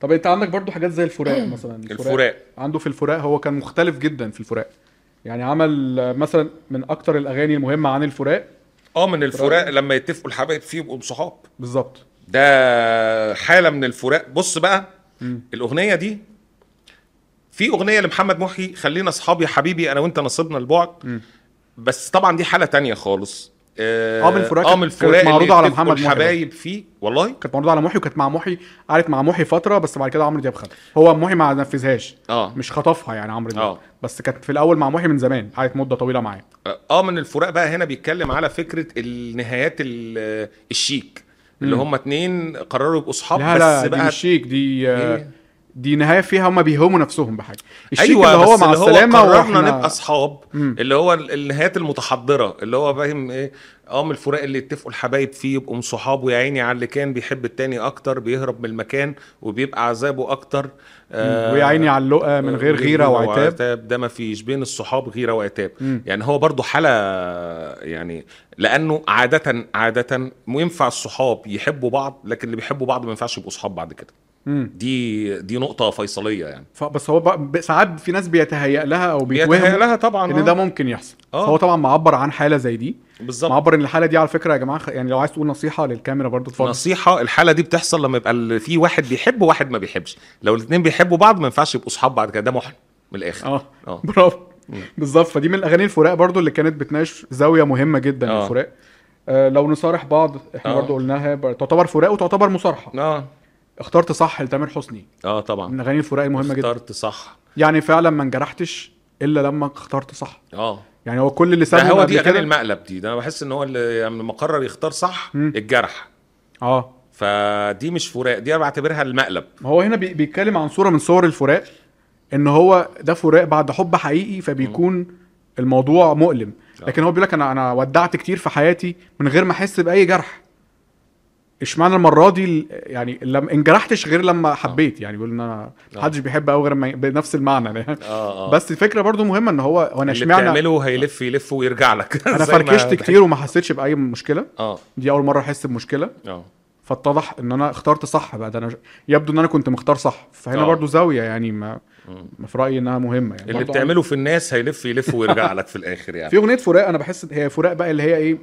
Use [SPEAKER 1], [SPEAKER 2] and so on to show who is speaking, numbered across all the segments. [SPEAKER 1] طب انت عندك برضو حاجات زي الفراق مثلا
[SPEAKER 2] الفراق
[SPEAKER 1] عنده في الفراق هو كان مختلف جدا في الفراق يعني عمل آه، مثلا من اكتر الاغاني المهمه عن الفراق
[SPEAKER 2] اه من الفراق لما يتفقوا الحبايب فيه يبقوا صحاب
[SPEAKER 1] بالظبط
[SPEAKER 2] ده حاله من الفراق بص بقى الاغنيه دي في اغنيه لمحمد محي خلينا اصحاب يا حبيبي انا وانت نصيبنا البعد بس طبعا دي حاله تانية خالص
[SPEAKER 1] آه، من الفراق
[SPEAKER 2] اه
[SPEAKER 1] كانت-
[SPEAKER 2] من
[SPEAKER 1] كانت
[SPEAKER 2] الفراق اللي
[SPEAKER 1] معروضة على
[SPEAKER 2] يتفقوا
[SPEAKER 1] محمد محي
[SPEAKER 2] الحبايب فيه والله
[SPEAKER 1] كانت معروضه على محي وكانت مع محي قعدت مع محي فتره بس بعد كده عمرو دياب خدها هو محي ما نفذهاش
[SPEAKER 2] اه
[SPEAKER 1] مش خطفها يعني عمرو دياب
[SPEAKER 2] آه.
[SPEAKER 1] بس كانت في الاول مع محي من زمان قعدت مده طويله معاه
[SPEAKER 2] اه من الفراق بقى هنا بيتكلم على فكره النهايات ال- الشيك اللي هم اتنين قرروا يبقوا اصحاب
[SPEAKER 1] لا
[SPEAKER 2] اه، بس
[SPEAKER 1] لا دي
[SPEAKER 2] بقى
[SPEAKER 1] مش شيك دي آه،
[SPEAKER 2] إيه؟
[SPEAKER 1] دي نهايه فيها هما بيهموا نفسهم بحاجه الشيك
[SPEAKER 2] ايوه
[SPEAKER 1] اللي هو
[SPEAKER 2] بس
[SPEAKER 1] مع
[SPEAKER 2] اللي هو
[SPEAKER 1] السلامه
[SPEAKER 2] قررنا
[SPEAKER 1] وإحنا-
[SPEAKER 2] نبقى اصحاب
[SPEAKER 1] مم.
[SPEAKER 2] اللي هو ال- النهايات المتحضره اللي هو فاهم ايه اه من الفراق اللي اتفقوا الحبايب فيه يبقوا صحاب ويا عيني على اللي كان بيحب التاني اكتر بيهرب من المكان وبيبقى عذابه اكتر آه
[SPEAKER 1] ويا عيني على اللقا من غير غيره وعتاب
[SPEAKER 2] ده ما فيش بين الصحاب غيره وعتاب يعني هو برضو حاله يعني لانه عاده عاده ينفع الصحاب يحبوا بعض لكن اللي بيحبوا بعض ما ينفعش يبقوا صحاب بعد كده
[SPEAKER 1] مم.
[SPEAKER 2] دي دي نقطه فيصليه يعني
[SPEAKER 1] ف- بس هو بقى- ب- ساعات في ناس بيتهيأ لها او
[SPEAKER 2] بيتهيأ
[SPEAKER 1] بيتوهم
[SPEAKER 2] لها طبعا
[SPEAKER 1] ان ده ممكن يحصل
[SPEAKER 2] آه.
[SPEAKER 1] فهو طبعا معبر عن حاله زي دي
[SPEAKER 2] بالظبط
[SPEAKER 1] معبر ان الحاله دي على فكره يا جماعه خ- يعني لو عايز تقول نصيحه للكاميرا برضو اتفضل
[SPEAKER 2] نصيحة الحالة دي بتحصل لما يبقى ال- في واحد بيحب وواحد ما بيحبش، لو الاثنين بيحبوا بعض ما ينفعش يبقوا صحاب بعد كده ده محن من الآخر.
[SPEAKER 1] اه
[SPEAKER 2] اه
[SPEAKER 1] برافو بالظبط فدي من الاغاني الفراق برضو اللي كانت بتناقش زاويه مهمه جدا
[SPEAKER 2] آه.
[SPEAKER 1] للفراق آه لو نصارح بعض احنا
[SPEAKER 2] آه.
[SPEAKER 1] برضو قلناها ب- تعتبر فراق وتعتبر مصارحه
[SPEAKER 2] اه
[SPEAKER 1] اخترت صح لتامر حسني
[SPEAKER 2] اه
[SPEAKER 1] من
[SPEAKER 2] طبعا
[SPEAKER 1] اغاني الفراق المهمه جدا
[SPEAKER 2] اخترت صح
[SPEAKER 1] يعني فعلا ما انجرحتش الا لما اخترت صح
[SPEAKER 2] اه
[SPEAKER 1] يعني هو كل اللي
[SPEAKER 2] ده
[SPEAKER 1] سابه
[SPEAKER 2] هو
[SPEAKER 1] قبل
[SPEAKER 2] دي
[SPEAKER 1] كده-
[SPEAKER 2] اغاني المقلب دي ده انا بحس ان هو اللي يعني لما قرر يختار صح
[SPEAKER 1] مم.
[SPEAKER 2] الجرح
[SPEAKER 1] اه
[SPEAKER 2] فدي مش فراق دي انا بعتبرها المقلب
[SPEAKER 1] ما هو هنا بي- بيتكلم عن صوره من صور الفراق ان هو ده فراق بعد حب حقيقي فبيكون الموضوع مؤلم لكن هو بيقول لك انا انا ودعت كتير في حياتي من غير ما احس باي جرح اشمعنى المره دي ال- يعني لما انجرحتش غير
[SPEAKER 2] آه.
[SPEAKER 1] لما حبيت يعني بيقول ان انا محدش بيحب قوي غير ما ي- بنفس المعنى ده.
[SPEAKER 2] اه اه
[SPEAKER 1] بس الفكره برضو مهمه ان هو هو انا
[SPEAKER 2] اللي
[SPEAKER 1] اشمعنى
[SPEAKER 2] بتعمله هيلف يلف ويرجع لك
[SPEAKER 1] انا
[SPEAKER 2] زي ما
[SPEAKER 1] فركشت
[SPEAKER 2] بحب.
[SPEAKER 1] كتير وما حسيتش باي مشكله
[SPEAKER 2] اه
[SPEAKER 1] دي اول مره احس بمشكله
[SPEAKER 2] اه
[SPEAKER 1] فاتضح ان انا اخترت صح بقى ده انا ج- يبدو ان انا كنت مختار صح فهنا
[SPEAKER 2] آه.
[SPEAKER 1] برضو زاويه يعني ما
[SPEAKER 2] مم.
[SPEAKER 1] ما في رايي انها مهمه يعني
[SPEAKER 2] اللي
[SPEAKER 1] برضو
[SPEAKER 2] بتعمله في الناس هيلف يلف ويرجع لك في الاخر
[SPEAKER 1] عن-
[SPEAKER 2] يعني
[SPEAKER 1] في اغنيه فراق انا بحس هي فراق بقى اللي هي ايه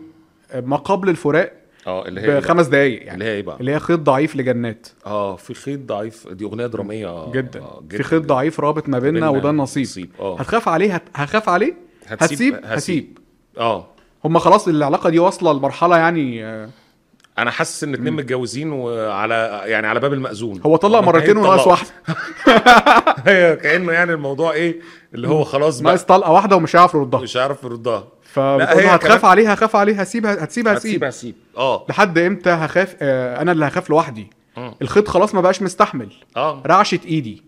[SPEAKER 1] ما قبل الفراق
[SPEAKER 2] اه اللي هي
[SPEAKER 1] بخمس دقايق
[SPEAKER 2] اللي
[SPEAKER 1] يعني
[SPEAKER 2] هي ايه بقى
[SPEAKER 1] اللي هي خيط ضعيف لجنات
[SPEAKER 2] اه في خيط ضعيف دي اغنيه دراميه
[SPEAKER 1] جدا
[SPEAKER 2] آه
[SPEAKER 1] في خيط ضعيف رابط ما بيننا وده النصيب
[SPEAKER 2] اه
[SPEAKER 1] هتخاف عليه هت- هخاف عليه هتسيب هسيب
[SPEAKER 2] اه
[SPEAKER 1] هما خلاص العلاقه دي واصله لمرحله يعني آه،
[SPEAKER 2] انا حاسس ان اتنين متجوزين وعلى يعني على باب المأذون
[SPEAKER 1] هو طلق
[SPEAKER 2] هم
[SPEAKER 1] مرتين وناقص
[SPEAKER 2] هيتطلقوا.
[SPEAKER 1] واحده
[SPEAKER 2] أيوة، كانه يعني الموضوع ايه اللي هو خلاص بقى
[SPEAKER 1] ناقص طلقه واحده ومش هيعرف يردها
[SPEAKER 2] مش عارف يردها
[SPEAKER 1] فبتقول له
[SPEAKER 2] هي
[SPEAKER 1] هتخاف
[SPEAKER 2] كمان-
[SPEAKER 1] عليه هخاف عليه هسيب هتسيب هسيب
[SPEAKER 2] هتسيب هسيب اه
[SPEAKER 1] لحد امتى هخاف آه انا اللي هخاف لوحدي
[SPEAKER 2] مم.
[SPEAKER 1] الخيط خلاص ما بقاش مستحمل
[SPEAKER 2] اه
[SPEAKER 1] رعشه ايدي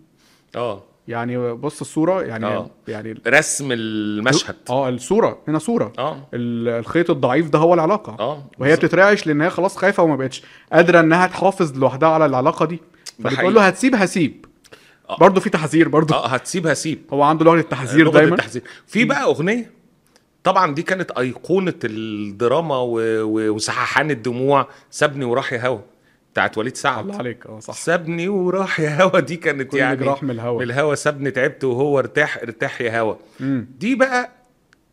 [SPEAKER 2] اه
[SPEAKER 1] يعني بص الصوره يعني
[SPEAKER 2] آه.
[SPEAKER 1] يعني
[SPEAKER 2] رسم المشهد
[SPEAKER 1] اه الصوره هنا صوره
[SPEAKER 2] اه
[SPEAKER 1] ال- الخيط الضعيف ده هو العلاقه
[SPEAKER 2] اه
[SPEAKER 1] وهي بتترعش لان هي خلاص خايفه وما بقتش قادره انها تحافظ لوحدها على العلاقه دي
[SPEAKER 2] حقيقي.
[SPEAKER 1] فبتقول له هتسيب هسيب
[SPEAKER 2] آه.
[SPEAKER 1] برضه في تحذير برضه
[SPEAKER 2] اه هتسيب هسيب
[SPEAKER 1] هو عنده لغه التحذير
[SPEAKER 2] لغة
[SPEAKER 1] دايما
[SPEAKER 2] التحذير في بقى اغنيه طبعا دي كانت ايقونه الدراما و... و... وسححان الدموع سابني وراح يا هوا بتاعت وليد
[SPEAKER 1] الله
[SPEAKER 2] سعد
[SPEAKER 1] عليك اه صح
[SPEAKER 2] سابني وراح يا هوا دي كانت
[SPEAKER 1] كل
[SPEAKER 2] يعني
[SPEAKER 1] جراح من الهوا.
[SPEAKER 2] من الهوا سابني تعبت وهو ارتاح ارتاح يا هوا
[SPEAKER 1] مم.
[SPEAKER 2] دي بقى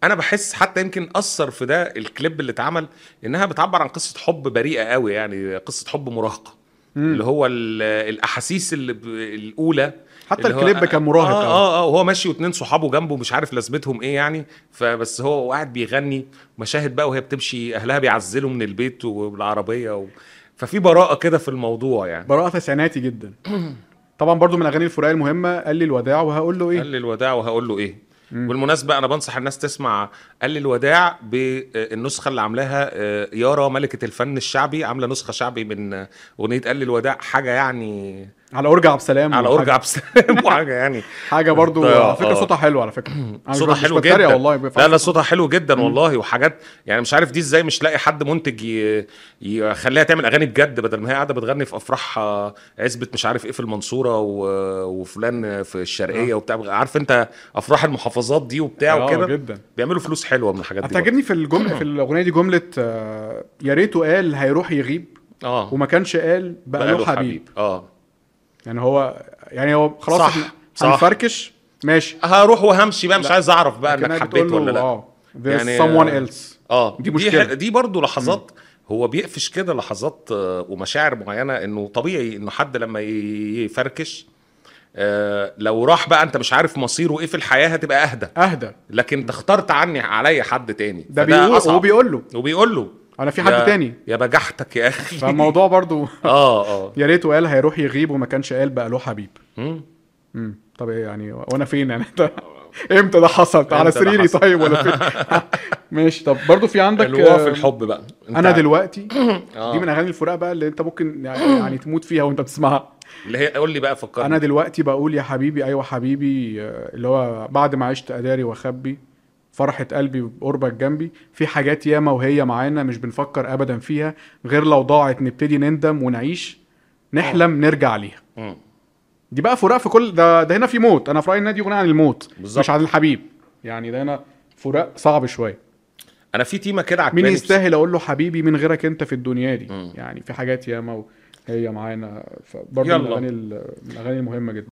[SPEAKER 2] انا بحس حتى يمكن اثر في ده الكليب اللي اتعمل انها بتعبر عن قصه حب بريئه قوي يعني قصه حب مراهقه اللي هو ال- الاحاسيس اللي ب... الاولى
[SPEAKER 1] حتى
[SPEAKER 2] اللي هو-
[SPEAKER 1] الكليب كان مراهق آه. أوي.
[SPEAKER 2] اه اه اه وهو ماشي واتنين صحابه جنبه مش عارف لازمتهم ايه يعني فبس هو قاعد بيغني مشاهد بقى وهي بتمشي اهلها بيعزلوا من البيت وبالعربيه و... ففي براءه كده في الموضوع يعني
[SPEAKER 1] براءه تسعيناتي جدا طبعا برضو من اغاني الفراق المهمه قال لي الوداع وهقول له ايه
[SPEAKER 2] قال لي الوداع وهقول له ايه بالمناسبه انا بنصح الناس تسمع قال لي الوداع بالنسخه اللي عاملاها آه، يارا ملكه الفن الشعبي عامله نسخه شعبي من آه، اغنيه قال لي الوداع حاجه يعني
[SPEAKER 1] على اورج عبد السلام
[SPEAKER 2] على
[SPEAKER 1] وحاجة-
[SPEAKER 2] ارجع عبد السلام وحاجه يعني
[SPEAKER 1] حاجه برضو
[SPEAKER 2] آه،
[SPEAKER 1] على فكره
[SPEAKER 2] آه.
[SPEAKER 1] صوتها حلو على فكره أنا مش-
[SPEAKER 2] صوتها
[SPEAKER 1] مش
[SPEAKER 2] حلو
[SPEAKER 1] بتريق
[SPEAKER 2] جدا
[SPEAKER 1] والله
[SPEAKER 2] لا لا صوتها حلو جدا والله وحاجات يعني مش عارف دي ازاي مش لاقي حد منتج ي- يخليها تعمل اغاني بجد بدل ما هي قاعده بتغني في افراح آه، عزبه مش عارف ايه في المنصوره و- وفلان في الشرقيه وبتاع عارف انت افراح المحافظات دي وبتاع
[SPEAKER 1] آه،
[SPEAKER 2] وكده
[SPEAKER 1] جدا
[SPEAKER 2] بيعملوا فلوس حلوه من الحاجات دي
[SPEAKER 1] هتعجبني في الجمله في الاغنيه دي جمله آه، يا ريته قال هيروح يغيب
[SPEAKER 2] برضه. اه
[SPEAKER 1] وما كانش قال بقى له حبيب
[SPEAKER 2] اه
[SPEAKER 1] يعني هو يعني هو خلاص
[SPEAKER 2] صح،
[SPEAKER 1] احنا
[SPEAKER 2] صح.
[SPEAKER 1] هنفركش ماشي
[SPEAKER 2] هروح وهمشي بقى مش
[SPEAKER 1] لا.
[SPEAKER 2] عايز اعرف بقى
[SPEAKER 1] لكنها
[SPEAKER 2] انك
[SPEAKER 1] بتقول
[SPEAKER 2] حبيت
[SPEAKER 1] له
[SPEAKER 2] ولا لا
[SPEAKER 1] اه there's
[SPEAKER 2] يعني-
[SPEAKER 1] someone else
[SPEAKER 2] اه
[SPEAKER 1] دي مشكلة.
[SPEAKER 2] دي, دي برضه لحظات هو بيقفش كده لحظات آه، ومشاعر معينه انه طبيعي انه حد لما ي- يفركش آه، لو راح بقى انت مش عارف مصيره ايه في الحياه هتبقى اهدى
[SPEAKER 1] اهدى
[SPEAKER 2] لكن انت اخترت عني عليا حد تاني
[SPEAKER 1] ده
[SPEAKER 2] فده
[SPEAKER 1] بيقول
[SPEAKER 2] أصعب.
[SPEAKER 1] وبيقول له
[SPEAKER 2] وبيقول له
[SPEAKER 1] انا في حد
[SPEAKER 2] يا-
[SPEAKER 1] تاني
[SPEAKER 2] يا بجحتك يا اخي
[SPEAKER 1] فالموضوع برضو
[SPEAKER 2] اه اه
[SPEAKER 1] يا ريت قال هيروح يغيب وما كانش قال بقى له حبيب
[SPEAKER 2] مم.
[SPEAKER 1] امم طب ايه يعني وانا فين يعني انت امتى ده حصل على
[SPEAKER 2] إمتى ده
[SPEAKER 1] سريري
[SPEAKER 2] حصل؟
[SPEAKER 1] طيب ولا فين ماشي طب برضو في عندك
[SPEAKER 2] اللي هو في
[SPEAKER 1] آه،
[SPEAKER 2] الحب بقى انت
[SPEAKER 1] انا دلوقتي دي
[SPEAKER 2] آه.
[SPEAKER 1] من اغاني الفراق بقى اللي انت ممكن يعني, يعني تموت فيها وانت بتسمعها
[SPEAKER 2] اللي هي قول لي بقى فكرني
[SPEAKER 1] انا دلوقتي بقول يا حبيبي ايوه حبيبي آه، اللي هو بعد ما عشت اداري واخبي فرحة قلبي بقربك جنبي في حاجات ياما وهي معانا مش بنفكر ابدا فيها غير لو ضاعت نبتدي نندم ونعيش نحلم
[SPEAKER 2] آه.
[SPEAKER 1] نرجع ليها
[SPEAKER 2] مم.
[SPEAKER 1] دي بقى فراق في كل ده ده هنا في موت انا في رايي انها دي اغنيه عن الموت
[SPEAKER 2] بالظبط.
[SPEAKER 1] مش عن الحبيب يعني ده هنا فراق صعب شويه
[SPEAKER 2] انا في تيمه كده
[SPEAKER 1] مين
[SPEAKER 2] عجباني بس-
[SPEAKER 1] يستاهل اقول له حبيبي من غيرك انت في الدنيا دي
[SPEAKER 2] مم.
[SPEAKER 1] يعني في حاجات ياما هي معانا فبرضه من
[SPEAKER 2] يلا.
[SPEAKER 1] الاغاني ال- من الاغاني المهمه جدا